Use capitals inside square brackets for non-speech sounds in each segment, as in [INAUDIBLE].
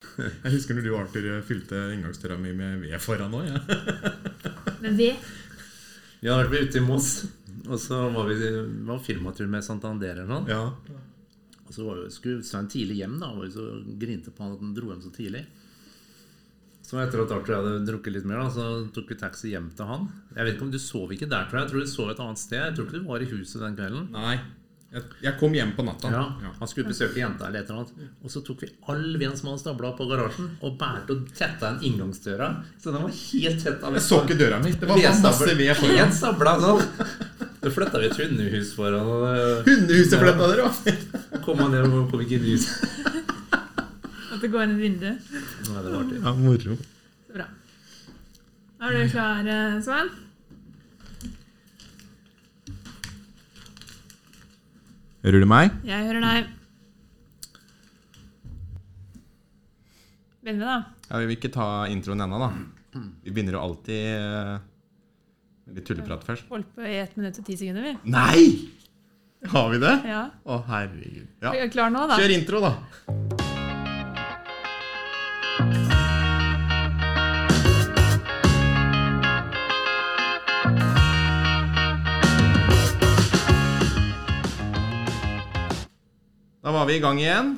[LAUGHS] Jeg husker når du og Arthur fylte inngangsdøra mi med ved foran òg. Ja. Men ved Ja, da var vi ute i Moss, og så var vi var firmatur med Santander eller noe. Ja. Og så var jo, skulle Svein tidlig hjem, da. Var jo så grinte på han at han dro hjem så tidlig. Så etter at Arthur hadde drukket litt mer, da, så tok vi taxi hjem til han. Jeg vet ikke om Du sov ikke der, tror jeg. Jeg tror du sov et annet sted. Jeg tror ikke du var i huset den kvelden. [LAUGHS] Nei. Jeg, jeg kom hjem på natta. Ja, Han skulle besøke jenta eller et eller annet. Og så tok vi all veden som han stabla på garasjen, og bærte og tetta igjen inngangsdøra. Så den var helt tett av Jeg så ikke døra mi. Det var masse ved Vedstabler. foran. Helt stabla sånn. Da flytta vi et hundehus foran, og det- Hundehuset flytta dere òg! kom han ned og kom ikke inn i huset. at det går inn i vinduet. Nei, det var artig. [LAUGHS] Ja, moro. Så bra. Er du klar, eh, Svein? Hører du meg? Jeg hører deg. Begynner vi, da? Ja, Vi vil ikke ta introen ennå, da. Vi begynner jo alltid eh, med litt tulleprat først. Holdt på i 1 minutt og 10 sekunder, vi. Nei! Har vi det? Ja. Å, herregud. Er Ja. vi Klar nå, da? Kjør intro, da. Da var vi i gang igjen.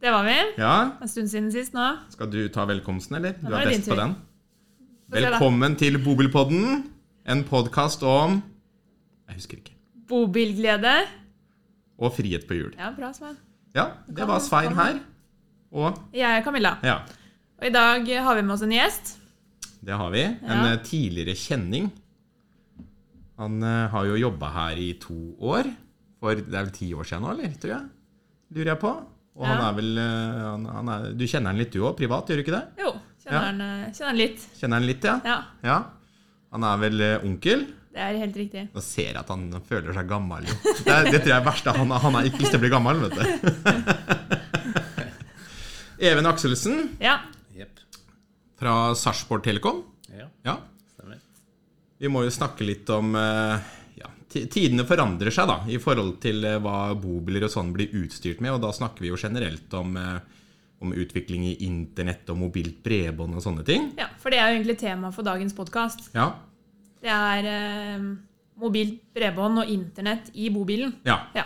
Det var vi. Ja, En stund siden sist nå. Skal du ta velkomsten, eller? Du nå er er det best din på tur. den. se da. Velkommen til Bobilpodden. En podkast om Jeg husker ikke. Bobilglede. Og frihet på hjul. Ja, bra, Svein. Ja, det var Svein her. Og Jeg er Camilla. ja, Og i dag har vi med oss en gjest. det har vi. En Ja. eh, tidligere kjenning. Han eh, har jo jobba her i to år. For det er vel ti år siden nå, eller? Tror jeg. Lurer jeg på. Og han Ja. er vel eh, han, han er, Du kjenner han litt du òg, privat, gjør du ikke det? Jo, Ja. kjenner, han, eh, kjenner han litt. Kjenner han litt, ja? Ja, ja. Han er vel eh, onkel? det er helt riktig. Nå ser jeg at han føler seg gammel. jo. Det, er, det tror jeg er verst. Han, han er ikke lyst til å bli gammel, vet du. [LAUGHS] Even Akselsen Ja, Jepp. fra Sarpsborg Telekom. Ja, Ja. stemmer. Vi må jo snakke litt om eh, ja, ti- Tidene forandrer seg da, i forhold til eh, hva bobiler og sånn blir utstyrt med. Og da snakker vi jo generelt om, eh, om utvikling i internett og mobilt bredbånd og sånne ting. ja, for det er jo egentlig tema for dagens podkast. Ja. Det er eh, mobilt bredbånd og internett i bobilen. ja. Ja,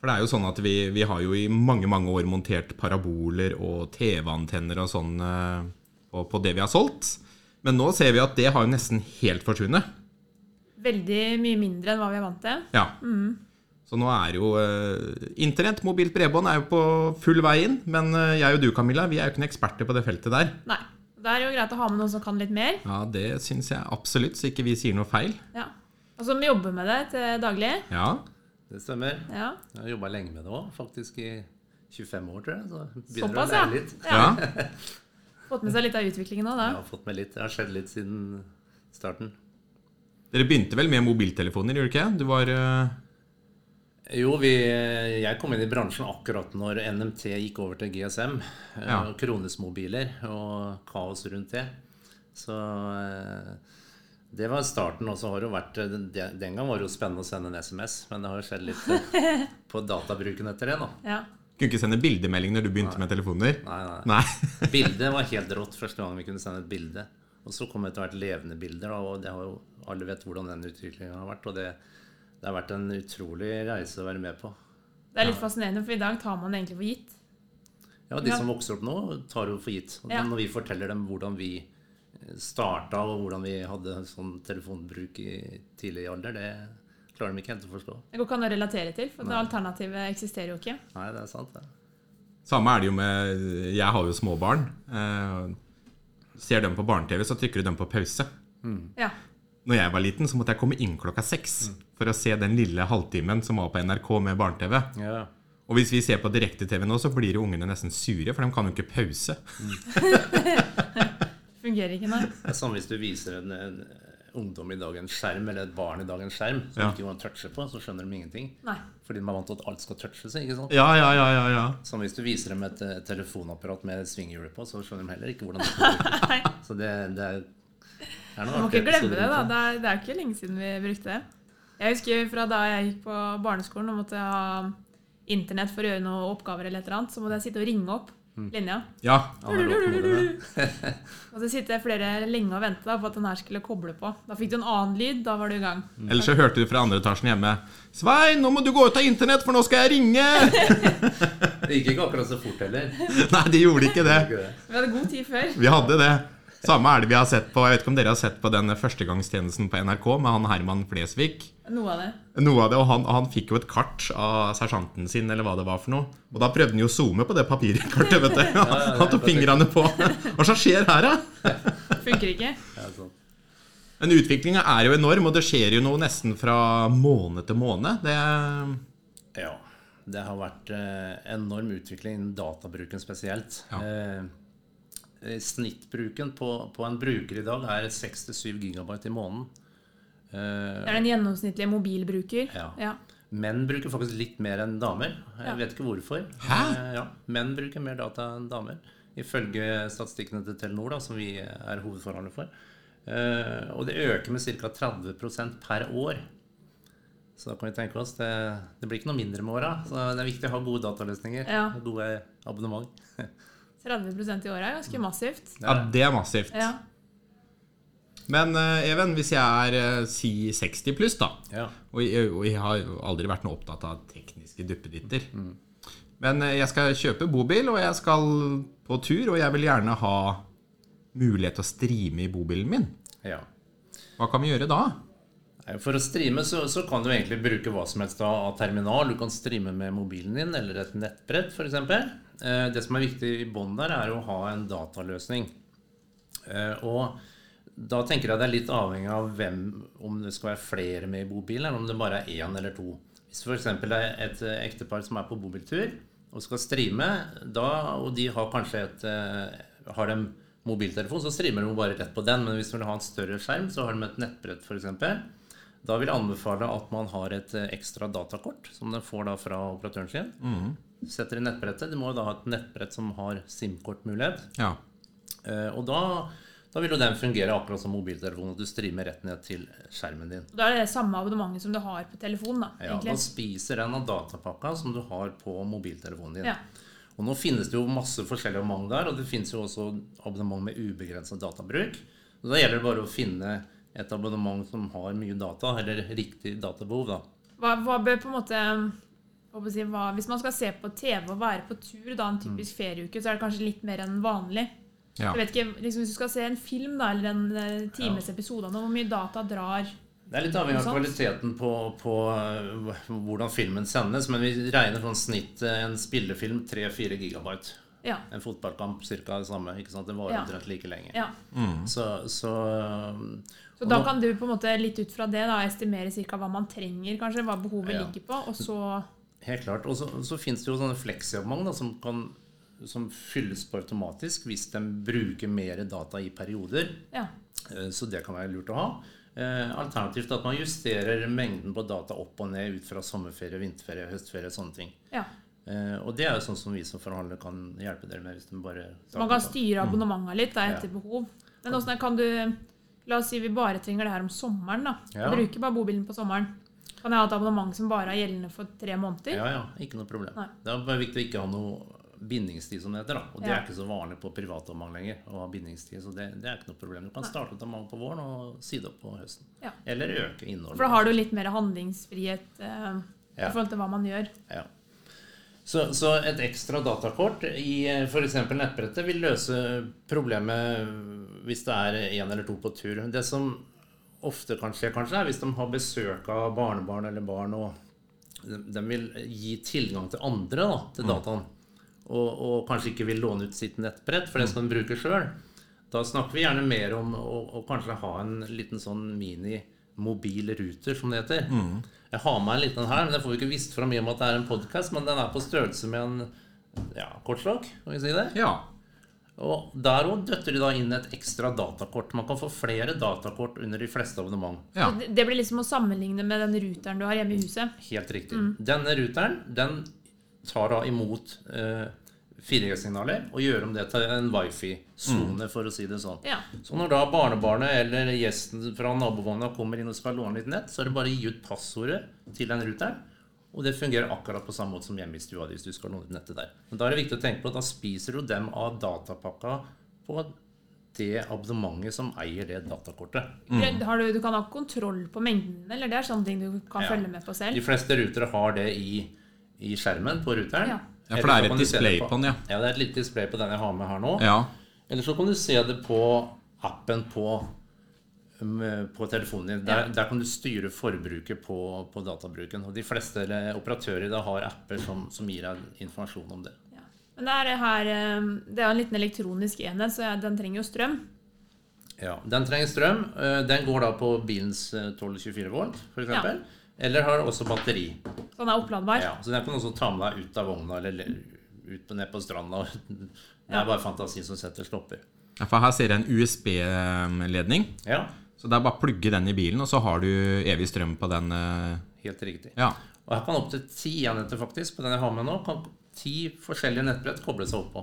For det er jo sånn at vi, vi har jo i mange, mange år montert paraboler og TV-antenner og sånn eh, på, på det vi har solgt. Men nå ser vi at det har jo nesten helt forsvunnet. Veldig mye mindre enn hva vi er vant til. Ja. Så nå er jo eh, Internett, mobilt bredbånd er jo på full vei inn. Men eh, jeg og du, Camilla, vi er jo ikke noen eksperter på det feltet der. Nei. Da er det jo greit å ha med noen som kan litt mer, Ja, det syns jeg absolutt, så ikke vi sier noe feil. Ja, og som jobber med det til daglig. Ja. Det stemmer. Ja, Jeg har jobba lenge med det òg, faktisk i 25 år, tror jeg. Så begynner Såpass, å ja. lære litt. ja. ja. Fått med seg litt av utviklingen nå, da. Jeg har fått med litt. Det har skjedd litt siden starten. Dere begynte vel med mobiltelefoner, gjorde dere ikke? Du var eh, Jo, vi, jeg kom inn i bransjen akkurat når NMT gikk over til GSM. Ja. eh, og Kronesmobiler og kaos rundt det. Så eh, det var starten. Og så har det jo vært eh, Den den gang var det jo spennende å sende en SMS, men det har jo skjedd litt [LAUGHS] eh, på databruken etter det, da. Ja. Kunne ikke sende bildemelding når du begynte med telefoner. Nei, nei. Nei. [LAUGHS] Bildet var helt rått første gang vi kunne sende et bilde. Og så kom etter hvert levende bilder, da, og det har jo, alle vet hvordan den utviklingen har vært. Og det, det har vært en utrolig reise å være med på. Det er litt fascinerende, for i dag tar man det egentlig for gitt. Ja, De Ja. som vokser opp nå, tar jo for gitt. Og Ja. Når vi forteller dem hvordan vi starta, og hvordan vi hadde sånn telefonbruk i tidlig alder, det klarer de ikke helt å forstå. Det går ikke an å relatere til, for det alternativet eksisterer jo ikke. Nei, det er sant, det. Samme er det jo med Jeg har jo små barn. Eh, ser dem på barne-TV, så trykker du dem på pause. Ja. Når jeg var liten, så måtte jeg komme inn klokka seks for å se den lille halvtimen som var på NRK med barne-TV. Ja. Og hvis vi ser på direkte-TV nå, så blir jo ungene nesten sure, for de kan jo ikke pause. Fungerer ikke, nei. Det er samme hvis du viser en, en ungdom i dag en skjerm, eller et barn i dag en skjerm, som Ja. ikke kan touche på, så skjønner de ingenting. Nei. Fordi man er vant til at alt skal touches. ikke sant? Ja, ja, ja, ja, ja. Som hvis du viser dem et eh, telefonapparat med svinghjul på, så skjønner de heller ikke [LAUGHS] hvordan det fungerer. Nei. Så det, det er, det er Man må noen ikke artige glemme det, episoder da. rundt Det er, det er ikke lenge siden vi brukte det. Jeg husker fra da jeg gikk på barneskolen og måtte ha internett for å gjøre noen oppgaver eller et eller annet, så måtte jeg sitte og ringe opp. linja. Ja, Han Mm. har råd til det. [LAUGHS] [LAUGHS] Og så sitter flere lenge og venter da, på at den her skulle koble på. Da fikk du en annen lyd, da var du i gang. Mm. Ellers så hørte du fra andre etasjen hjemme Svein, nå må du gå ut av internett, for nå skal jeg ringe! [LAUGHS] Det gikk ikke akkurat så fort heller. Nei, de gjorde ikke det. Ikke det. Vi hadde god tid før. Vi hadde det. Samme er det vi har sett på Jeg vet ikke om dere har sett på den førstegangstjenesten på NRK med han Herman Flesvig. Noe av det. Noe av det, og han, han fikk jo et kart av sersjanten sin, eller hva det var for noe. Og da prøvde han jo å zoome på det papirkartet, vet du. Han tok fingrene på. Hva som skjer her, da? Funker ikke. Ja, sånn. Men utviklinga er jo enorm, og det skjer jo noe nesten fra måned til måned. Det Ja. Det har vært eh, enorm utvikling innen databruken spesielt. Ja. Eh, snittbruken på, på en bruker i dag er 6-7 gigabyte i måneden. Eh, Det er den gjennomsnittlige mobilbruker. Ja. ja. menn bruker faktisk litt mer enn damer. Jeg Ja. vet ikke hvorfor. Hæ? Eh, ja. Menn bruker mer data enn damer, ifølge statistikkene til Telenor, da, som vi er hovedforhandler for. Eh, og det øker med ca. 30 per år. Så da kan vi tenke oss det, det blir ikke noe mindre med åra. Så det er viktig å ha gode dataløsninger. Ja. og Gode abonnement. 30 i året er ganske massivt. Ja, det er massivt. Mm. Ja. Men eh, Even, hvis jeg er eh, si 60 pluss, da Ja. og jeg, og jeg har jo aldri vært noe opptatt av tekniske duppeditter. Men eh, jeg skal kjøpe bobil, og jeg skal på tur, og jeg vil gjerne ha mulighet til å streame i bobilen min. ja. Hva kan vi gjøre da? Nei, For å streame så, så kan du egentlig bruke hva som helst av av terminal. Du kan streame med mobilen din eller et nettbrett f.eks. Eh, det som er viktig i bånn der, er å ha en dataløsning. Eh, og da tenker jeg det er litt avhengig av hvem, om det skal være flere med i bobilen, eller om det bare er én eller to. Hvis f.eks. det er et eh, ektepar som er på bobiltur og skal streame, da, og de har kanskje et eh, har de mobiltelefon, så streamer de jo bare rett på den. Men hvis de vil ha en større skjerm, så har de et nettbrett f.eks. Da vil jeg anbefale at man har et eh, ekstra datakort, som den får da fra operatøren sin. Setter i nettbrettet. Du må jo da ha et nettbrett som har SIM-kortmulighet. Ja. Eh, Og da, da vil jo den fungere akkurat som mobiltelefonen, at du streamer rett ned til skjermen din. Da er det samme abonnementet som du har på telefonen, da, Ja, da egentlig. spiser den av datapakka som du har på mobiltelefonen din. Ja. Og nå finnes det jo masse forskjellige abonnement der, og det finnes jo også abonnement med ubegrenset databruk. Og da gjelder det bare å finne et abonnement som har mye data, eller riktig databehov, da. Hva, hva bør på en måte hva må jeg si, hva, Hvis man skal se på TV og være på tur da, en typisk ferieuke, så er det kanskje litt mer enn vanlig. ja. Jeg vet ikke, liksom, Hvis du skal se en film da, eller en eh, times episode, av noe, hvor mye data drar Det er litt avhengig av Sant. kvaliteten på, på øh, hvordan filmen sendes, men vi regner sånn snitt øh, en spillefilm 3-4 gigabyte. Ja. En fotballkamp ca. det samme. ikke sant? Det varer Ja. omtrent like lenge. ja. Så, så, øh, Så og da nå- kan du på en måte litt ut fra det da, estimere cirka hva man trenger, kanskje, hva behovet Ja. ligger på, og så Helt klart. Og så, så finnes det jo sånne fleksiabonnement da, som, kan, som fylles på automatisk hvis de bruker mer data i perioder. Ja. Eh, Så det kan være lurt å ha. Eh, Alternativt at man justerer mengden på data opp og ned ut fra sommerferie, vinterferie, høstferie og sånne ting. ja. Eh, Og det er jo sånn som vi som forhandler kan hjelpe dere med hvis de bare Så man kan styre abonnementene litt da, etter behov. Men åssen kan du La oss si vi bare trenger det her om sommeren. da. Ja. Bruker bare bobilen på sommeren. Kan jeg ha et abonnement som bare er gjeldende for tre måneder? [LAUGHS] Ja, ja. Ikke noe problem. Nei. Det er bare viktig å ikke ha noe bindingstid, som det heter. da. Og det Ja. er ikke så vanlig på privatomgang lenger å ha bindingstid, så det, det er ikke noe problem. Du kan starte et omgang på våren og si det opp på høsten. Ja. Eller øke innholdet. For da har du litt mer handlingsfrihet eh, i Ja. forhold til hva man gjør. Ja. Så, så et ekstra datakort i f.eks. nettbrettet vil løse problemet hvis det er én eller to på tur. Det som ofte kan skje, kanskje, er hvis de har besøk av barnebarn eller barn, og de de vil gi tilgang til andre da, til dataen, og, og kanskje ikke vil låne ut sitt nettbrett for det skal de bruke sjøl. Da snakker vi gjerne mer om å, å kanskje ha en liten sånn mini-mobil ruter, som det heter. Jeg har med en liten her, men det får vi ikke visst fram i og med at det er en podkast. Men den er på størrelse med en ja, kortslokk, kan vi si det. ja. Og der òg døtter de da inn et ekstra datakort. Man kan få flere datakort under de fleste abonnement. ja. Så det- Det blir liksom å sammenligne med den ruteren du har hjemme i huset. Helt riktig. Denne ruteren den tar da imot eh, 4G-signaler og gjør om det til en wifi-sone, for å si det sånn. Ja. Så når da barnebarnet eller gjesten fra nabovogna kommer inn og skal låne litt nett, så er det bare å gi ut passordet til den ruteren. Og det fungerer akkurat på samme måte som hjemme i stua di hvis du skal låne ut nettet der. Men da er det viktig å tenke på at da spiser du dem av datapakka på det abonnementet som eier det datakortet. Det- Har du, du kan ha kontroll på mengden, eller det er sånne ting du kan Ja. følge med på selv. De fleste rutere har det i, i skjermen på ruteren. Ja. Ja, for det er et Eller så kan du se det display på den, ja. Ja, det er et lite display på den jeg har med her nå. Ja. Eller så kan du se det på appen på, um, på telefonen din. Der, der kan du styre forbruket på, på databruken. Og de fleste eh, operatører i dag har apper som, som gir deg informasjon om det. Ja. Men det er, her, eh, det er jo en liten elektronisk enhet, så jeg- den trenger jo strøm. Ja, Den trenger strøm. Eh, Den går da på bilens eh, 12-24 volt, f.eks. Ja. eksempel Eller har også batteri. Så den er oppladbar. Ja, så den kan du også ta med deg ut av vogna eller le- ut på, ned på stranda. [LAUGHS] Det er bare fantasien som setter stopper. Ja, For her ser jeg en USB-ledning. Ja, Så det er bare å plugge den i bilen, og så har du evig strøm på den. eh, helt riktig. Ja. Og her kan opptil ti enheter faktisk, på den jeg har med nå, kan ti forskjellige nettbrett koble seg opp på,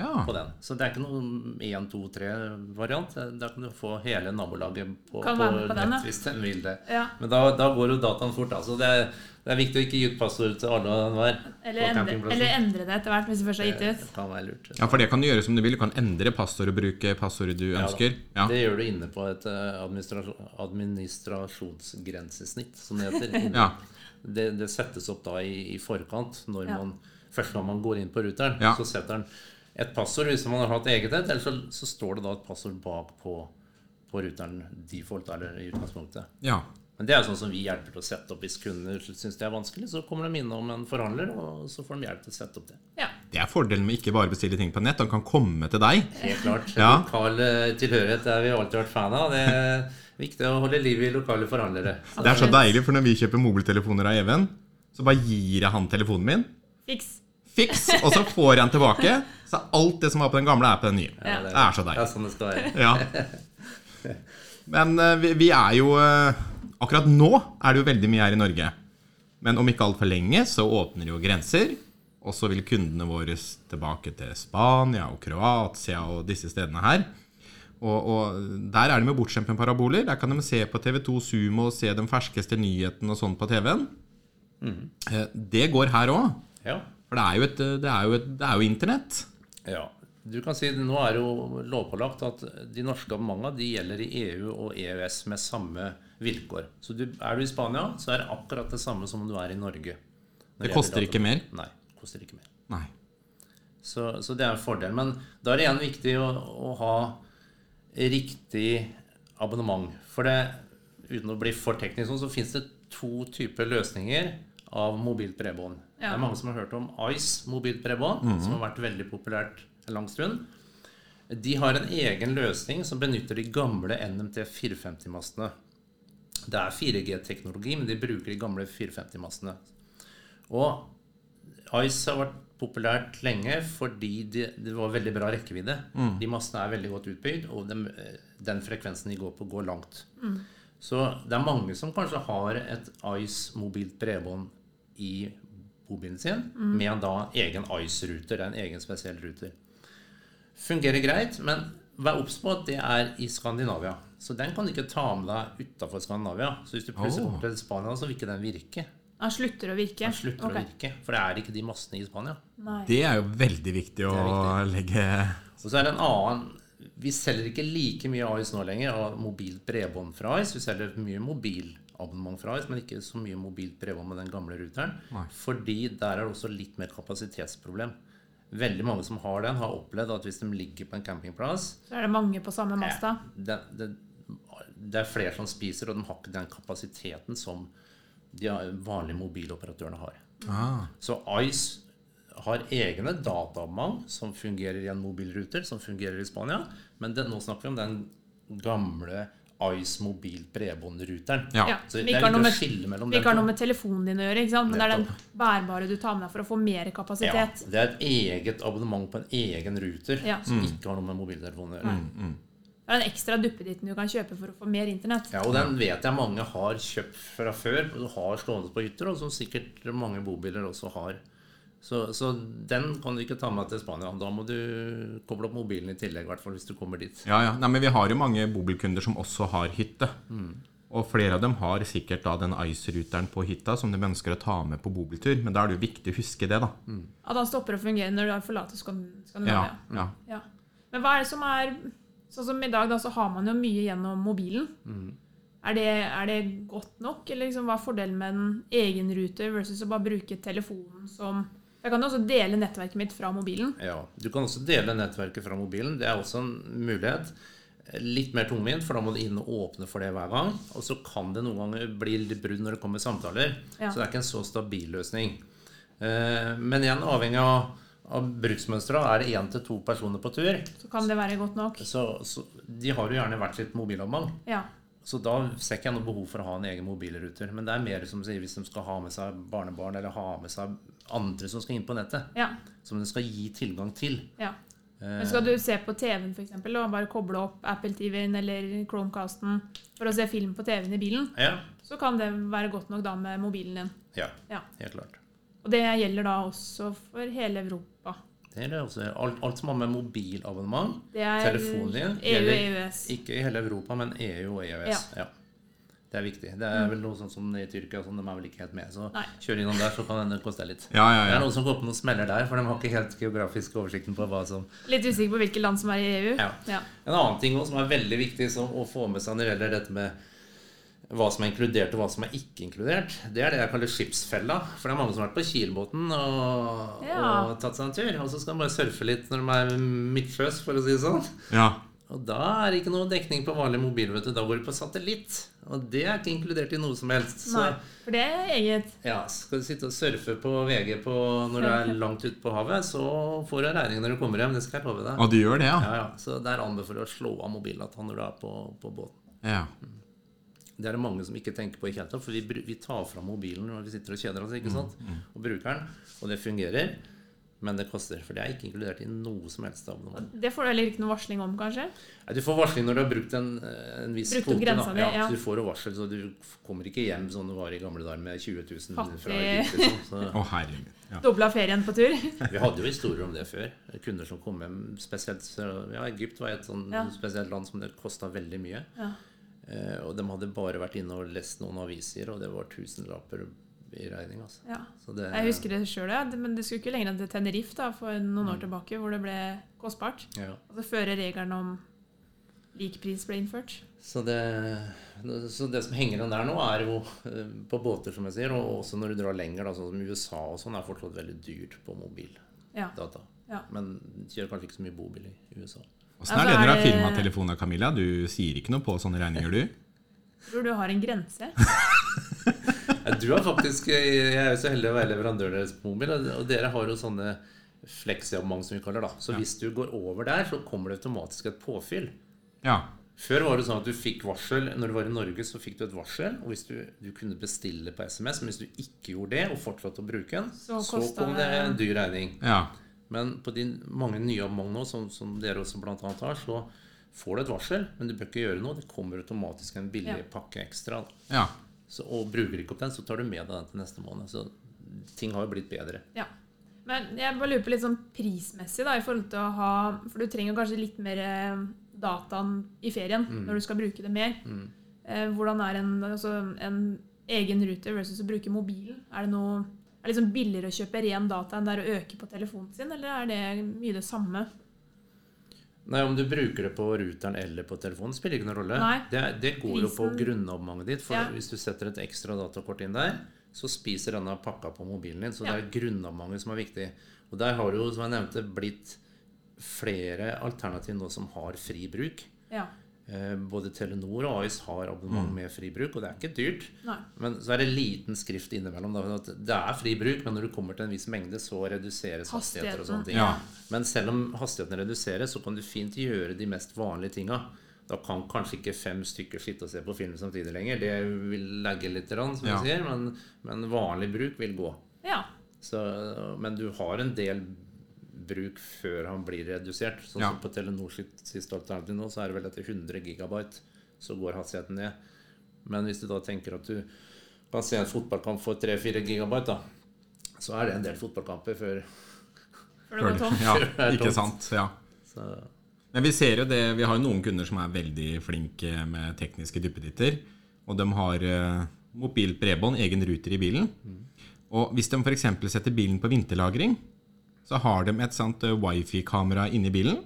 ja. på den. Så det er ikke noen 1, 2, 3-variant. Der kan du få hele nabolaget på, Kan på, være med på den, nett ja. hvis den vil det. Ja. Men da, da går jo dataen fort. Altså. Det, er, det er viktig å ikke gi ut passord til alle og enhver. Eller, på endre, campingplassen. eller endre det etter hvert, hvis du først har Det gitt ut. kan være lurt. ja, for det kan du gjøre som du vil. Du kan endre passord og bruke passordet du da. ønsker. Ja. Det gjør du inne på et eh, administrasjon, administrasjonsgrensesnitt, som [LAUGHS] det heter. Inne- Ja. Det, det settes opp da i, i forkant. Når Ja. man, først når man går inn på ruteren, Ja. så setter den et passord hvis man har hatt eget et. Eller så, så står det da et passord bak på, på ruteren default, eller i utgangspunktet. ja. Men det er jo sånn som vi hjelper til å sette opp hvis kunder syns det er vanskelig. Så kommer de innom en forhandler, og så får de hjelp til å sette opp det. Ja. Det er fordelen med ikke bare å bestille ting på nett. Han kan komme til deg. Helt klart. [LAUGHS] Ja. Lokal eh, tilhørighet er vi alltid vært fan av. Det er viktig å holde liv i lokale forhandlere. Det er så deilig, for når vi kjøper mobiltelefoner av Even, så bare gir jeg han telefonen min. Fiks. Fiks! Og så får jeg den tilbake. Så er alt det som var på den gamle, er på den nye. Ja. Det er så Det er deilig. sånn det skal være. Ja. Men eh, vi, vi er jo eh, Akkurat nå er det jo veldig mye her i Norge. Men om ikke altfor lenge så åpner jo grenser. Og så vil kundene våre tilbake til Spania og Kroatia og disse stedene her. Og, og der er de med bortskjemte med paraboler. Der kan de se på TV2 Sumo og se de ferskeste nyhetene og sånn på TV-en. Eh, Det går her òg. Ja. For det er jo, et, eh, det er jo, et, det er jo internett. ja. Du kan si Nå er det jo lovpålagt at de norske abonnementene de gjelder i EU og EØS med samme vilkår. Så du, er du i Spania, så er det akkurat det samme som om du er i Norge. Når Det koster gjelder ikke mer. Nei, det koster ikke mer. Nei. Så, så det er en fordel. Men da er det igjen viktig å, å ha riktig abonnement. For det, uten å bli for teknisk, sånn, så fins det to typer løsninger av mobilt bredbånd. Ja. Det er mange som har hørt om Ice mobilt bredbånd, som har vært veldig populært en lang stund. De har en egen løsning som benytter de gamle NMT 450-mastene. Det er 4G-teknologi, men de bruker de gamle 450-mastene. Og Ice har vært populært lenge fordi det, det var veldig bra rekkevidde. De massene er veldig godt utbygd, og dem, eh, den frekvensen de går på, går langt. Så det er mange som kanskje har et Ice mobilt bredbånd i bobilen sin, med da egen Ice-ruter, en egen spesiell ruter. Fungerer greit, men vær obs på at det er i Skandinavia. Så den kan du ikke ta med deg utafor Skandinavia. Så hvis du plutselig Oh. kommer til Spania, så vil ikke den virke. Han slutter å virke. Den slutter Ok. å virke, for det er ikke de massene i Spania. Nei. Det er jo veldig viktig å legge Og så er det en annen Vi selger ikke like mye Ice nå lenger av mobilt bredbånd fra Ice. Vi selger mye mobilabonnement fra Ice, men ikke så mye mobilt bredbånd med den gamle ruteren. Nei. Fordi der er det også litt mer kapasitetsproblem. Veldig mange som har den, har opplevd at hvis de ligger på en campingplass Så er det mange på samme masta. det, det, det er flere som spiser, og de har ikke den kapasiteten som de vanlige mobiloperatørene har. ah, Så Ice har egne dataabonnement som fungerer i en mobilruter, som fungerer i Spania. Men det, nå snakker vi om den gamle Ice mobil bredbåndruteren. ja. Ja. Så Vi det ikke har er viktig noe å med- skille mellom Det dem. ikke har noe med telefonen din å gjøre, ikke sant? men det er den Nettopp. bærbare du tar med deg for å få mer ja, kapasitet. det er et eget abonnement på en egen ruter Ja. som ikke har noe med mobiltelefonen å gjøre. Det er den ekstra duppeditten du kan kjøpe for å få mer internett. Ja, og den vet jeg mange har kjøpt fra før, og har stående på hytter, og som sikkert mange bobiler også har. Så, så den kan du ikke ta med til Spania. Da må du koble opp mobilen i tillegg, i hvert fall hvis du kommer dit. Ja, ja. Nei, men vi har jo mange bobilkunder som også har hytte. Og flere av dem har sikkert da den Ice-ruteren på hytta som de ønsker å ta med på bobiltur, men da er det jo viktig å huske det, da. At han stopper å fungere når du har forlatt Skan- Ja, Skandinavia. ja. Ja. Men hva er det som er Sånn som i dag, da, så har man jo mye gjennom mobilen. Er, det, er det godt nok, eller liksom, hva er fordelen med en egen rute versus å bare bruke telefonen som Jeg kan jo også dele nettverket mitt fra mobilen. Ja, Du kan også dele nettverket fra mobilen. Det er også en mulighet. Litt mer tungvint, for da må du inn og åpne for det hver gang. Og så kan det noen ganger bli litt brudd når det kommer samtaler. Ja. Så det er ikke en så stabil løsning. Eh, Men igjen, avhengig av, av bruksmønsteret, er det én til to personer på tur, Så kan det være godt nok. så, så de har jo gjerne hvert sitt mobilabonnement. Ja. Så da ser ikke jeg noe behov for å ha en egen mobilruter. Men det er mer som du sier, hvis de skal ha med seg barnebarn, eller ha med seg andre som skal inn på nettet. Ja. Som de skal gi tilgang til. ja. Men skal du se på TV-en for eksempel, og bare koble opp Apple TV-en eller Chromecasten for å se film på TV-en i bilen, Ja, så kan det være godt nok da med mobilen din. ja. Ja. Helt klart. Og det gjelder da også for hele Europa. Det er det også. Alt, alt som har med mobilabonnement, Det er E telefonen din, EU og gjelder EØS. ikke i hele Europa, men EU og EØS. Ja. Det er viktig. Det er vel noe sånn som i Tyrkia, sånn, de er vel ikke helt med. Så Mm. Nei. kjør innom der, så kan det koste deg litt. Ja, ja, Det ja. er noen som går på noen smeller der, for de har ikke helt geografisk oversikten på hva som Litt usikker på hvilke land som er i E EU. Ja. En annen ting også, som er veldig viktig som, å få med seg når det gjelder dette med hva som er inkludert og hva som er ikke inkludert, det er det jeg kaller skipsfella. For det er mange som har vært på Kielbåten og, Ja. og tatt seg en tur. Og så skal de bare surfe litt når de er midtsjøs, for å si det sånn. ja. Og da er det ikke noe dekning på vanlig mobil, vet du. Da går du på satellitt. Og det er ikke inkludert i noe som helst. Så Nei, for det er eget. ja, skal du sitte og surfe på VG på, når du er langt ute på havet, så får du en regning når du kommer hjem. Det skal jeg love deg. Og du gjør det, ja? Ja, ja. Så der anbefaler jeg å slå av mobildataen når du er på, på båten. Ja. Det er det mange som ikke tenker på i det hele tatt, for vi, bru- vi tar fra mobilen når vi sitter og kjeder oss, ikke sant? Og bruker den, og det fungerer. Men det koster, for det er ikke inkludert i noe som helst abonnement. Det får du heller ikke noe varsling om, kanskje. Nei, Du får varsling når du har brukt en, eh, en viss Brukt opp kvote. da. grensa di, ja. Så du får jo varsel, så du f- kommer ikke hjem som du var i gamle dager med 20 000 fra Fattig. Egypt. Liksom. Så- Å, herregud. Ja. Dobla ferien på tur. [LAUGHS] Vi hadde jo historier om det før. Kunder som kom hjem spesielt så- Ja, Egypt var et sånn Ja. spesielt land som det kosta veldig mye. Ja. Eh, og de hadde bare vært inne og lest noen aviser, og det var tusenlapper i regning. Altså. Ja. Så det, Jeg husker det sjøl, ja. men det skulle ikke lenger enn til Tenerife da, for noen Mm. år tilbake, hvor det ble kostbart. Ja. Altså før regelen om lik pris ble innført. Så, det, så det som henger igjen der nå, er jo eh, på båter, som jeg sier, og også når du drar lenger, da, sånn som USA og sånn, er fortsatt veldig dyrt på mobildata. Ja. Ja. Men kjører kanskje ikke så mye bobil i USA. Åssen er Altså, det er dere har det- filma telefoner, Camilla? Du sier ikke noe på sånne regninger, du? Tror du har en grense? Ja, Du har faktisk eh, Jeg er jo så heldig å være leverandør deres på mobil, og dere har jo sånne fleksabonnement som vi kaller det. da. Så hvis du går over der, så kommer det automatisk et påfyll. Ja. Før var det sånn at du fikk varsel når du var i Norge, så fikk du et varsel. Og hvis du, du kunne bestille på SMS, men hvis du ikke gjorde det, og fortsatte å bruke den, så, Så kostet kom det det- en dyr regning. ja. Men på de mange nye abonnement nå, som, som dere også blant annet har, så får du et varsel, men du bør ikke gjøre noe. Det kommer automatisk en billig Ja. pakke ekstra. da. Ja. Så, og bruker du ikke opp den, så tar du med deg den til neste måned. Så ting har jo blitt bedre. Ja. Men jeg bare lurer på litt sånn prismessig, da, i forhold til å ha For du trenger kanskje litt mer eh, dataen i ferien når du skal bruke det mer. Eh, hvordan er en, altså, en egen rute versus å bruke mobilen? Er det noe er det liksom billigere å kjøpe ren data enn det er å øke på telefonen sin, eller er det mye det samme? Nei, Om du bruker det på ruteren eller på telefonen, spiller ikke noen rolle. Nei. Det, det går jo på Prisen- grunnabonnementet ditt. For Ja. hvis du setter et ekstra datakort inn der, så spiser denne pakka på mobilen din. Så Ja. det er grunnabonnementet som er viktig. Og der har det jo, som jeg nevnte, blitt flere alternativ nå som har fri bruk. Ja. Eh, Både Telenor og AIS har abonnement Mm. med fri bruk, og det er ikke dyrt. Nei. Men så er det liten skrift innimellom. Da, at det er fri bruk, men når du kommer til en viss mengde, så reduseres hastigheter og Hastigheten, sånne ting. ja. Men selv om hastigheten reduseres, så kan du fint gjøre de mest vanlige tinga. Da kan kanskje ikke fem stykker sitte og se på film samtidig lenger. Det vil lagge litt, grann, som Ja. du sier, men, men vanlig bruk vil gå. Ja. Så, men du har en del bruk før han blir redusert. Sånn Ja. som på Telenor sitt siste alternativ nå, så er det vel etter 100 gigabyte så går hastigheten ned. Men hvis du da tenker at du kan se en fotballkamp for 3-4 gigabyte, da, så er det en del fotballkamper før Før det går tomt. Ja, ikke sant. Ja. så, Men vi ser jo det, vi har jo noen kunder som er veldig flinke med tekniske duppeditter. Og de har eh, mobilt bredbånd, egen ruter i bilen. Og hvis de f.eks. setter bilen på vinterlagring, så har de et sånt eh, wifi-kamera inni bilen.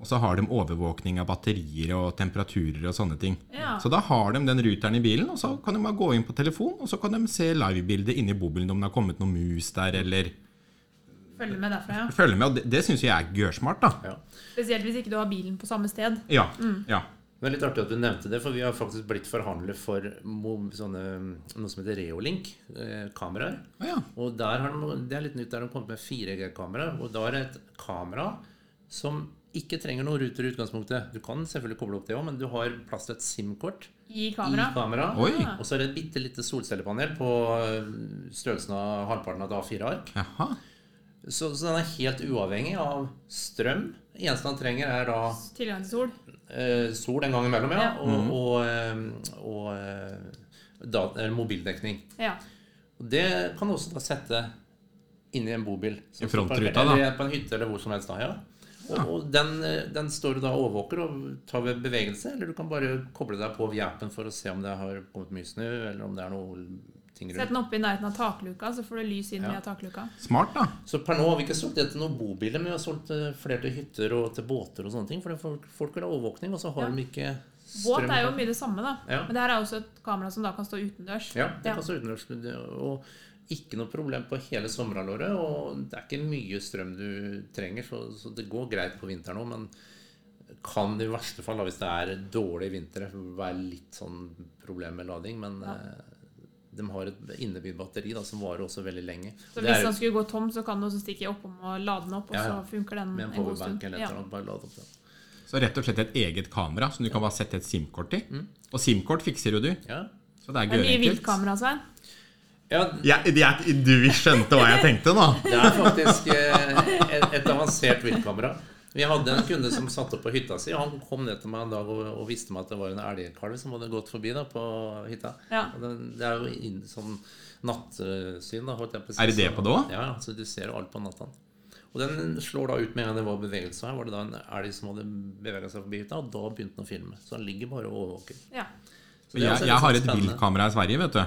Og så har de overvåkning av batterier og temperaturer og sånne ting. Ja. Så da har de den ruteren i bilen, og så kan de bare gå inn på telefon, og så kan de se livebildet inni bobilen om det har kommet noen mus der, eller Følge med derfra, ja. følge med. Og det, det syns jeg er gørsmart, da. Ja. Spesielt hvis ikke du har bilen på samme sted. Ja. ja. Det er litt artig at du nevnte det, for vi har faktisk blitt forhandlet for mo- sånne, noe som heter eh, Reolink-kameraer. Å ja. Og der har de, det er litt nytt, der har de kommet med 4G-kamera. Og da er det et kamera som ikke trenger noen ruter i utgangspunktet. Du kan selvfølgelig koble opp det òg, men du har plass til et SIM-kort I i kamera. kameraet. Oi. Og så er det et bitte lite solcellepanel på øh, størrelsen av halvparten av et A4-ark. Jaha. Så, så den er helt uavhengig av strøm. Det eneste han trenger, er da Tilgang til sol. eh, sol en gang imellom, ja. Ja. Og, og, eh, og, eh, dat- eller mobildekning. Ja. Og det kan du også da sette inni en bobil. I frontruta, da. Eller på en hytte eller hvor som helst. da, ja. Og, og den, eh, den står du da og overvåker og tar ved bevegelse, eller du kan bare koble deg på via appen for å se om det har kommet mye snø, eller om det er noe ting Sett rundt. den oppe i nærheten av takluka, så får du lys inn via takluka. Smart, da. Så per nå har vi ikke solgt det til noen bobiler, men vi har solgt eh, flere til hytter og til båter og sånne ting, for det er folk, folk vil ha overvåkning, og så har Ja. de ikke Båt strøm. er jo mye det samme, da. Ja. Men det her er også et kamera som da kan stå utendørs. Ja, det Ja. passer utenlandsk. det- Og ikke noe problem på hele sommerhalvåret. Og det er ikke mye strøm du trenger, så, så det går greit på vinteren òg. Men kan i verste fall, da, hvis det er dårlig vinter, være litt sånn problem med lading. Men eh, de har et innebygd batteri da, som varer også veldig lenge. Så Det er hvis den skulle gå tom, så kan du også stikke oppom og lade den opp, og Ja, ja. så funker den med en en god powerbank stund. eller et Ja. eller annet, bare lade opp den. Så rett og slett et eget kamera som du kan bare sette et SIM-kort i. Og SIM-kort fikser jo du. Ja. Så det er Det er mye gørenkelt. viltkamera, Svein. ja, Ja, jeg- du skjønte hva jeg tenkte nå? [LAUGHS] Det er faktisk eh, et, et avansert viltkamera. Vi hadde en kunde som satt opp på hytta si. og Han kom ned til meg en dag og, og visste meg at det var en elgkalv som hadde gått forbi da, på hytta. Ja. Og den, det er jo inn, sånn nattsyn, da, holdt jeg på å si. Er det det Så- på det også? Ja, ja, så du ser alt på natta. Og den slår da ut med en gang det var bevegelse. Her var det da en elg som hadde bevega seg forbi hytta, og da begynte den å filme. Så han ligger bare og overvåker. Ja. Så det er Jeg, også litt jeg har sånn et spennende. viltkamera i Sverige, vet du.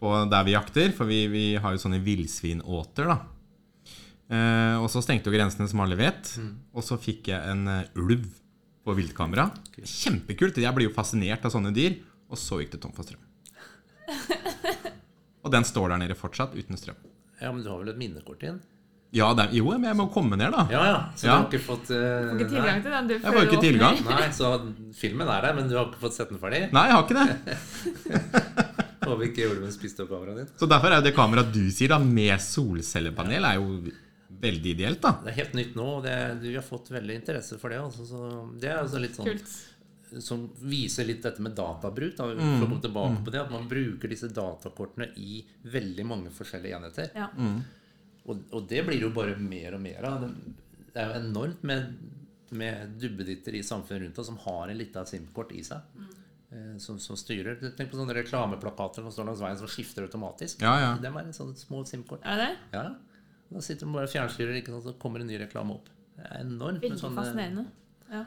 På der vi jakter. For vi, vi har jo sånne villsvinåter, da. Eh, og så stengte jo grensene, som alle vet. Og så fikk jeg en eh, ulv på viltkamera. Kjempekult. Jeg blir jo fascinert av sånne dyr. Og så gikk det tom for [LAUGHS] strøm. og den står der nede fortsatt, uten strøm. Ja, men du har vel et minnekort igjen? Ja, det, er- jo, men jeg må komme ned, da. Ja, ja. Så Ja. du har ikke fått eh, Ikke nei. tilgang til den. Du Jeg føler får jo ikke åpner. tilgang. Nei, så filmen er der, men du har ikke fått sett den ferdig? Nei, jeg har ikke det. Håper ikke ulven spiste opp kameraet ditt. Så derfor er jo det kameraet du sier, da, med solcellepanel, er jo veldig ideelt, da. Det er helt nytt nå, og det, du har fått veldig interesse for det. Altså, så det er altså litt sånn Kult. som viser litt dette med databruk. Da, for å komme tilbake på det, At man bruker disse datakortene i veldig mange forskjellige enheter. Ja. Og, og det blir jo bare mer og mer av. Det er jo enormt med, med duppeditter i samfunnet rundt oss som har en liten SIM-kort i seg. Mm. eh, Som, som styrer. Tenk på sånne reklameplakater som står langs veien som skifter automatisk. Ja, ja. De er sånne små SIM-kort. Er det det? Ja, ja. Da sitter man bare og fjernstyrer, ikke sant, så kommer en ny reklame opp. Det er enormt sånn, med Veldig eh, sånne fascinerende. Mm. Ja.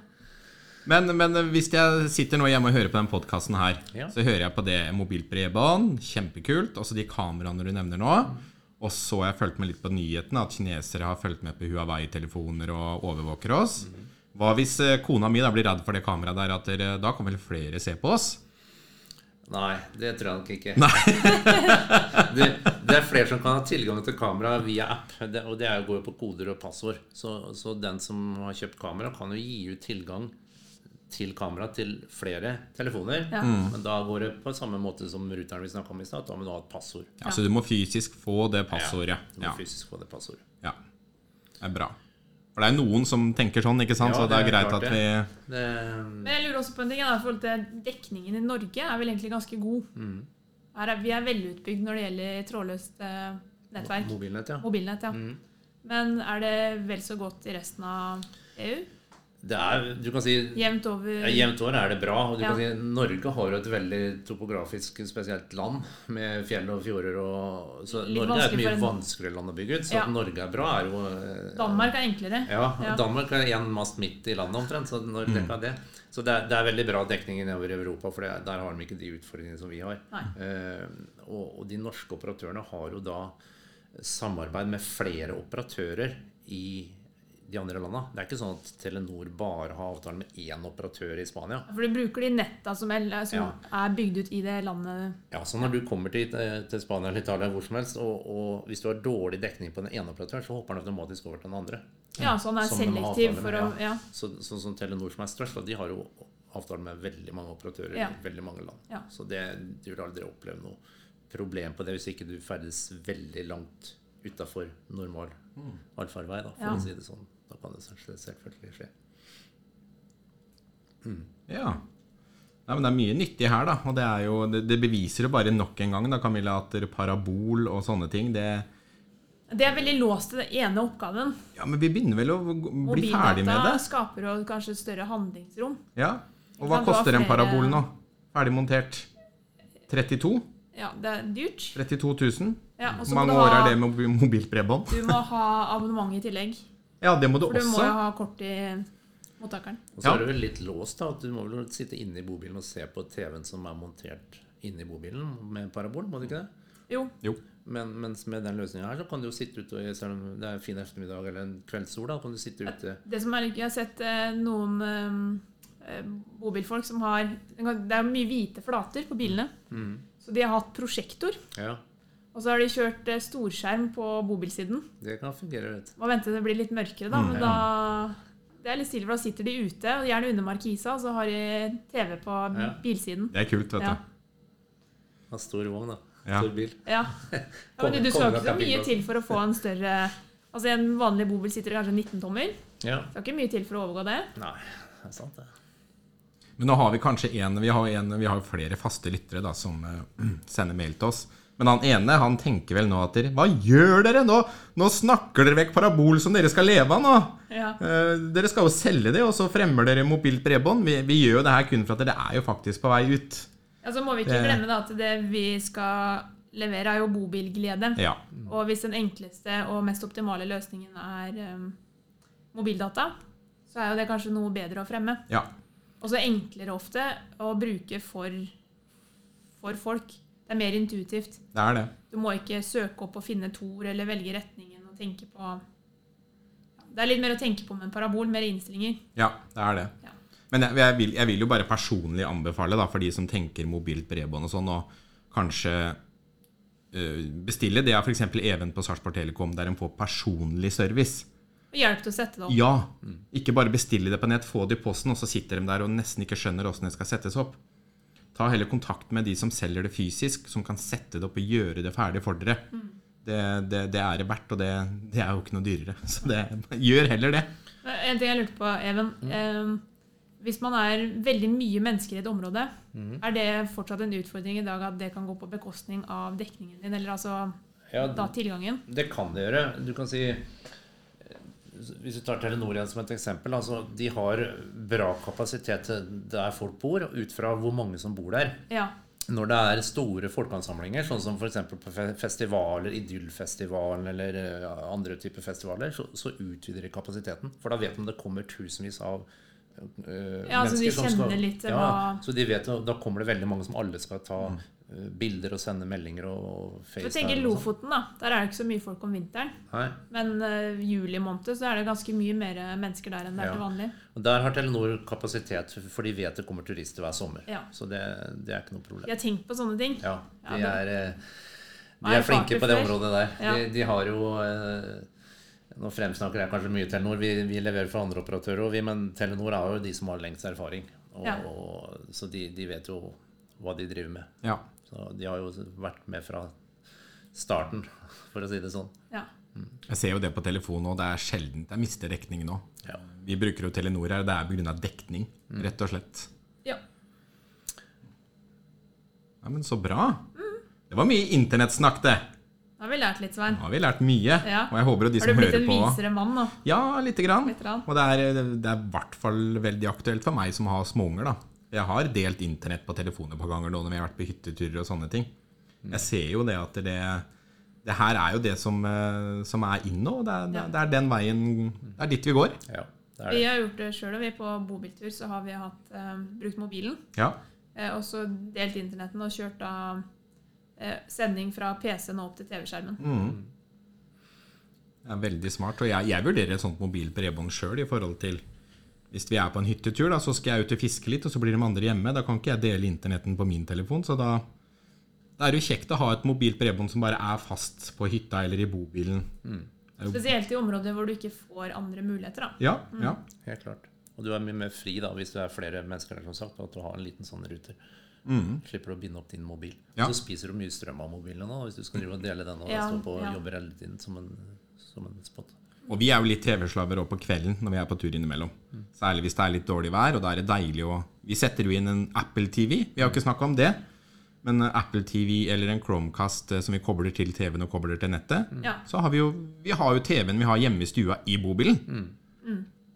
Men, men hvis jeg sitter nå hjemme og hører på den podkasten her, Ja. så hører jeg på det mobilt bredbånd, kjempekult, også de kameraene du nevner nå. Og så har jeg fulgt med litt på nyhetene, at kinesere har fulgt med på Huawei-telefoner og overvåker oss. Hva hvis eh, kona mi da blir redd for det kameraet der, at dere, da kan vel flere se på oss? Nei, det tror jeg nok ikke. Nei. [LAUGHS] Det, det er flere som kan ha tilgang til kamera via app, det, og det er jo går jo på koder og passord. Så, så den som har kjøpt kamera, kan jo gi ut tilgang til kamera til flere telefoner. Ja. Mm. Men da går det på samme måte som ruteren vi snakka om i stad, at da må du ha et passord. Ja, så du må fysisk få det passordet. Du må Ja. fysisk få det passordet. ja. Det er bra. For det er noen som tenker sånn, ikke sant? Ja, så det det er er greit klart at vi Det, Men jeg lurer også på en ting. Da, i forhold til Dekningen i Norge er vel egentlig ganske god. Mm. Her er, vi er velutbygd når det gjelder trådløst eh, nettverk. mobilnett, ja. Mobilnett, ja. Mm. Men er det vel så godt i resten av E EU? Det er, du kan si Jevnt over Ja, Jevnt år er det bra. og du Ja. kan si Norge har jo et veldig topografisk spesielt land med fjell og fjorder. Og, så Litt Norge er et vanskelig mye for en- vanskeligere land å bygge ut. Så Ja. at Norge er bra, er jo eh, Danmark er enklere. ja, Ja. Danmark er én mast midt i landet omtrent, så når det er det. Så det er, det er veldig bra dekning nedover i Europa, for det, der har de ikke de utfordringene som vi har. Nei. Eh, og, og de norske operatørene har jo da samarbeid med flere operatører i de andre landa. Det er ikke sånn at Telenor bare har avtale med én operatør i Spania. For du bruker de netta som, er, som Ja. er bygd ut i det landet. Ja, så når du kommer til, til Spania eller Italia hvor som helst, og, og hvis du har dårlig dekning på den ene operatøren, så hopper den automatisk over til den andre. Ja, så han er Som de har selektiv avtale for å med, ja. Så, sånn som Telenor, som er størst, da, de har jo avtale med veldig mange operatører Ja. i veldig mange land. Ja. Så det, du vil aldri oppleve noe problem på det hvis ikke du ferdes veldig langt utafor normal allfarvei, da, for Ja. å si det sånn. Da kan det selv- selvfølgelig skje. Ja. Nei, men Det er mye nyttig her, da. Og det, er jo, det, det beviser jo bare nok en gang da, Camilla, at parabol og sånne ting det, Det er veldig låst til den ene oppgaven. Ja, men vi begynner vel å bli Mobildata ferdig med det? skaper jo kanskje større handlingsrom. Ja. Og hva Kan du ha koster en flere- parabol nå? Ferdig montert. 32? Ja, det er dyrt. 32 000? Ja, og så Hvor må mange du år ha, er det med mobi- mobilt bredbånd? Du må ha abonnement i tillegg. Ja, det må du For du må også. jo ha kort i mottakeren. Og så Ja. er du vel litt låst, da. At du må vel sitte inne i bobilen og se på TV-en som er montert inni bobilen med parabol, må du ikke det? Jo. Jo. Men mens med den løsninga her, så kan du jo sitte ute, og- selv om det er fin ettermiddag eller en kveldssol, da kan du sitte ute Det som er, jeg har sett eh, noen eh, eh, bobilfolk som har Det er mye hvite flater på bilene. Så de har hatt prosjektor. Ja, Og så har de kjørt eh, storskjerm på bobilsiden. det kan fungere, vet du. Må vente til det blir litt mørkere, da. Men da det er litt stille, for da sitter de ute, og gjerne under markisa, og så har de TV på Ja. bilsiden. Det er kult, vet Ja. du. Ha stor vogn, da. Ja. Stor bil. Ja. ja men du, du Kongen skal av ikke så mye campingplassen. til for å få en større Altså, en vanlig bobil sitter kanskje 19 tommer. Ja. Skal ikke mye til for å overgå det. Nei, det er sant, det. Men nå har vi kanskje en Vi har, en, vi har jo flere faste lyttere da, som eh, [CLEARS THROAT] sender mail til oss. Men han ene han tenker vel nå at dere Hva gjør dere nå?! Nå snakker dere vekk parabol som dere skal leve av nå! Ja. Eh, dere skal jo selge det, og så fremmer dere mobilt bredbånd. Vi, vi gjør jo det her kun for at dere er jo faktisk på vei ut. Altså må vi ikke Det- glemme da at det vi skal levere, er jo bobilglede. Ja. Og hvis den enkleste og mest optimale løsningen er um, mobildata, så er jo det kanskje noe bedre å fremme. ja. Og så enklere ofte å bruke for, for folk. Det er mer intuitivt. Det er det. Du må ikke søke opp og finne et ord eller velge retningen og tenke på Det er litt mer å tenke på med en parabol, mer innstillinger. Ja, det er det. Ja. Men jeg, jeg, vil, jeg vil jo bare personlig anbefale da, for de som tenker mobilt bredbånd og sånn, å kanskje øh, bestille. Det er f.eks. Even på Sarpsborg Telekom, der en får personlig service. Og hjelp til å sette det opp. Ja! Ikke bare bestille det på nett, få det i posten, og så sitter de der og nesten ikke skjønner åssen det skal settes opp. Ta heller kontakt med de som selger det fysisk, som kan sette det opp og gjøre det ferdig for dere. Det, det, det er det verdt, og det, det er jo ikke noe dyrere. [LAUGHS] Så det, gjør heller det. Eh, En ting jeg lurte på, Even. Mm. Eh, hvis man er veldig mye mennesker i et område, Mm. er det fortsatt en utfordring i dag at det kan gå på bekostning av dekningen din, eller altså Ja, da tilgangen? Det kan det gjøre. Du kan si Hvis du tar Telenor igjen som et eksempel. Altså, de har bra kapasitet der folk bor, ut fra hvor mange som bor der. Ja. Når det er store folkeansamlinger, sånn som f.eks. på fe- festivaler, Idyllfestivalen eller eh, andre typer festivaler, så, så utvider de kapasiteten. For da vet de det kommer tusenvis av eh, Ja, så de mennesker som skal- kjenner litt, eh, ja, hva- Så de vet, jo- da kommer det veldig mange som alle skal ta eh, bilder og sende meldinger og, og Så jeg tenker og sånn. Lofoten, da. Der er det ikke så mye folk om vinteren. Nei. Men eh, juli måned så er det ganske mye mer eh, mennesker der enn det er Ja. til vanlig. Og Der har Telenor kapasitet, for de vet det kommer turister hver sommer. Ja. Så det, det er ikke noe problem. Jeg har tenkt på sånne ting. Ja, de Ja, er, eh, de Nei, er flinke på det fagfolk. området der. Ja. De, de har jo eh, Nå fremsnakker jeg kanskje mye Telenor, vi, vi leverer for andre operatører òg, men Telenor er jo de som har lengst erfaring. Og, Ja. og, så de, de vet jo hva de driver med. Ja. Så de har jo vært med fra starten, [LAUGHS] for å si det sånn. Ja. Jeg ser jo det på telefon nå. Det er sjelden jeg mister dekning nå. Ja. Vi bruker jo Telenor her, og det er pga. dekning, rett og slett. Ja. Ja, men så bra. Det var mye internettsnakk, det. Da har vi lært litt, Svein. Nå har vi lært mye. Ja. Og jeg håper jo de Har du som blitt hører en på visere mann nå? Ja, lite grann. Lite grann. Og det er, det er i hvert fall veldig aktuelt for meg som har småunger, da. Jeg har delt internett på telefonen et par ganger nå når vi har vært på hytteturer og sånne ting. Jeg ser jo det at det Det her er jo det som, eh, som er inn nå. og Det er, det, er- det er den veien Det er dit vi går. Ja, det Det er Vi det. har gjort det sjøl, og vi på bobiltur så har vi hatt, eh, brukt mobilen. Ja. Eh, og så delt internetten og kjørt da eh, sending fra PC-en og opp til TV-skjermen. Det er veldig smart. Og jeg, jeg vurderer et sånt mobilt bredbånd sjøl i forhold til Hvis vi er på en hyttetur, da, så skal jeg ut og fiske litt, og så blir de andre hjemme. Da kan ikke jeg dele internetten på min telefon, så da da er det jo kjekt å ha et mobilt bredbånd som bare er fast på hytta eller i bobilen. Spesielt i områder hvor du ikke får andre muligheter. da. Ja, ja. Helt klart. Og du er mye mer fri da, hvis du er flere mennesker, der, som sagt, og at du har en liten sånn ruter. Slipper å binde opp din mobil. Ja. Så spiser du mye strøm av mobilene nå, hvis du skal drive og dele den og Ja, stå på og ja. jobbe hele tiden som en, som en spot. Og vi er jo litt TV-slaver også på kvelden når vi er på tur innimellom. Særlig hvis det er litt dårlig vær, og da er det deilig å Vi setter jo inn en Apple TV, vi har jo ikke snakka om det. Men eh, Apple TV eller en Chromecast eh, som vi kobler til TV-en og kobler til nettet, Ja. så har vi jo Vi har jo TV-en vi har hjemme i stua i bobilen.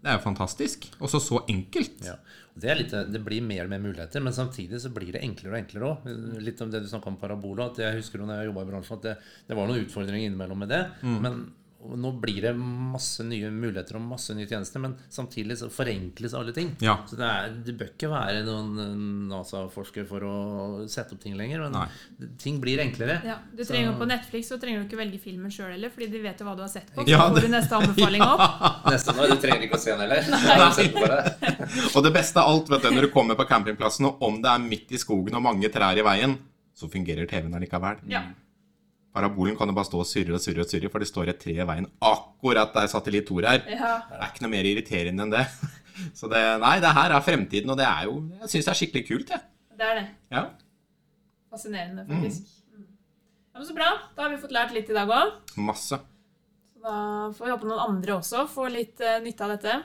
Det er jo fantastisk. Også så enkelt. Ja. Og Det, er litt, det blir mer og mer muligheter, men samtidig så blir det enklere og enklere òg. Litt om det du snakka om parabola. at Jeg husker jo når jeg jobbet i bransjen, at det, det var noen utfordringer innimellom med det. Mm. Men og nå blir det masse nye muligheter og masse nye tjenester, men samtidig så forenkles alle ting. Ja. Så det, er, det bør ikke være noen eh, NASA-forsker for å sette opp ting lenger, men Nei. ting blir enklere. Ja, du trenger jo På Netflix så trenger du ikke velge filmen sjøl heller, fordi de vet jo hva du har sett på. Så Ja, får det- du [LAUGHS] neste anbefaling opp. [LAUGHS] Nesten, du trenger ikke å se [LAUGHS] den heller. Sett på det. Og det beste av alt, vet du, når du kommer på campingplassen, og om det er midt i skogen og mange trær i veien, så fungerer TV-en allikevel. Ja. Parabolen kan jo bare stå og surre og surre, og surre, for det står et tre i veien akkurat der satellitt Thor er. Ja. Det er ikke noe mer irriterende enn det. [LAUGHS] Så det, nei, det her er fremtiden, og det er jo Jeg syns det er skikkelig kult, jeg. Det er det. Ja. Fascinerende, faktisk. Mm. Ja, men Så bra. Da har vi fått lært litt i dag òg. Masse. Da får vi håpe noen andre også får litt eh, nytte av dette.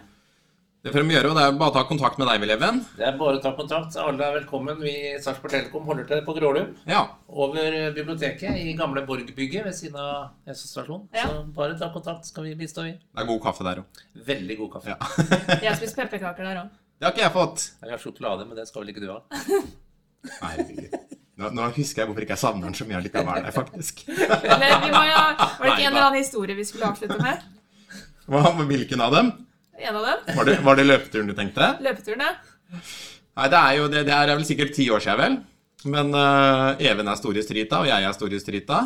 Det får de gjøre, og det er bare å ta kontakt med deg, Eleven. Det er bare å ta kontakt. Alle er velkommen. Vi i Sarpsborg Telekom holder til på Grålum. Ja. over biblioteket i gamle Borg-bygget ved siden av Jesus-stasjonen. Ja. Så bare ta kontakt, skal vi bistå i. Det er god kaffe der òg. Veldig god kaffe. Ja. Jeg har spist pepperkaker der òg. Det har ikke jeg fått. Jeg har sjokolade, men det skal vel ikke du ha? Herregud. Nå, nå husker jeg hvorfor ikke jeg savner den så mye likevel, der, faktisk. Eller vi må jo, var det Nei ikke en da. eller annen historie vi skulle avslutte med? Hva, hvilken av dem? En av dem? Var det, var det løpeturen du tenkte? Løpeturen, ja. Nei, det er jo det, det her er vel sikkert ti år siden, vel. Men eh, Even er stor i strita, og jeg er stor i strita.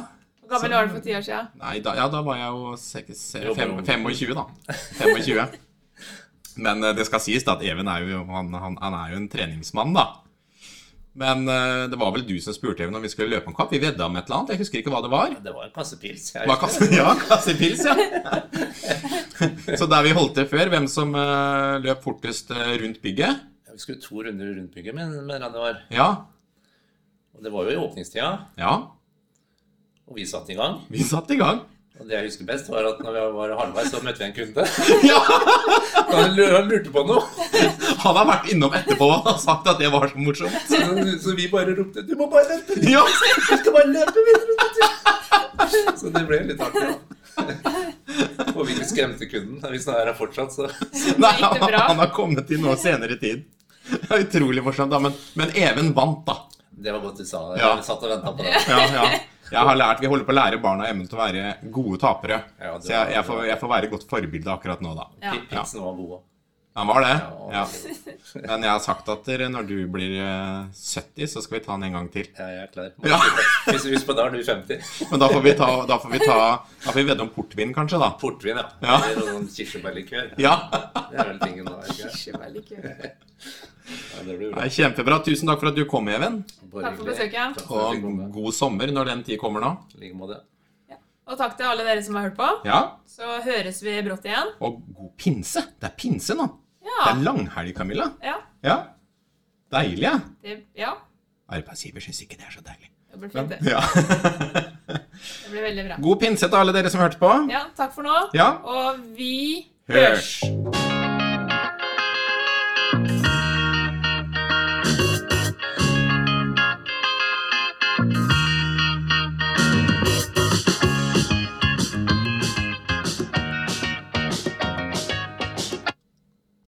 Hvor gammel var du for ti år siden? Nei, da, ja, da var jeg jo sek- se- Du var fem- ung. 25, da. 25. Men eh, det skal sies da at Even er jo, han, han, han er jo en treningsmann, da. Men eh, det var vel du som spurte Even om vi skulle løpe en kapp. Vi vedda om et eller annet. Jeg husker ikke hva det var. Det var en kasse pils. Det var kasse, [LAUGHS] ja, kassepils, ja. [LAUGHS] Så der vi holdt til før, hvem som eh, løp fortest eh, rundt bygget Vi skulle to runder rundt bygget, men, men det var. Ja, Og det var jo i åpningstida, ja, og vi satt i gang. vi satt i gang. [LAUGHS] Og det jeg husker best, var at når vi var halvveis, så møtte vi en kunde. [LAUGHS] Ja, Han lu- han lurte på noe. Han har vært innom etterpå og sagt at det var så [LAUGHS] morsomt. Så, så vi bare ropte 'Du må bare vente! Ja, Du skal bare løpe videre!' Så det ble litt artig, da. [LAUGHS] Og vi ikke skremte kunden. Hvis han er her fortsatt, så [LAUGHS] Nei, gikk han, det bra. han har kommet til nå senere tid. Det er utrolig morsomt, da. Men, men Even vant, da. Det var godt du sa det. Ja. Jeg satt og venta på det. Ja, ja. Jeg har lært, Vi holder på å lære barna Even til å være gode tapere. Ja, det Så jeg, jeg, var- får, jeg får være et godt forbilde akkurat nå, da. Ja. Pi- Pilsen var god òg. Han var det. Ja. Ja. Men jeg har sagt at dere, når du blir eh, 70, så skal vi ta han en gang til. Ja, jeg er klar. Ja. Hvis du husker på da er du 50. Men da får vi ta, da får vi ta, da får vi vedde om portvin, kanskje, da. Portvin, ja. Ja. Eller noen sånn kirsebærlikør. Ja. Det er vel tingen da. ikke? Takk Ja, det blir bra. Nei, Kjempebra. Tusen takk for at du kom, Even. Bare for hyggelig. besøket. Takk for at du Og kom med. god sommer når den tid kommer nå. I like måte. Og takk til alle dere som har hørt på. Ja. Så høres vi brått igjen. Og god pinse. Det er pinse nå. Det Ja. er langhelg, Camilla. Ja. Ja. Deilig, ja. Det, ja. Arbeidsgiver syns ikke det er så deilig. det blir fint, det. Ja. Det blir veldig bra. God pinse til alle dere som hørte på. Ja, takk for nå. Ja. Og vi Hørs!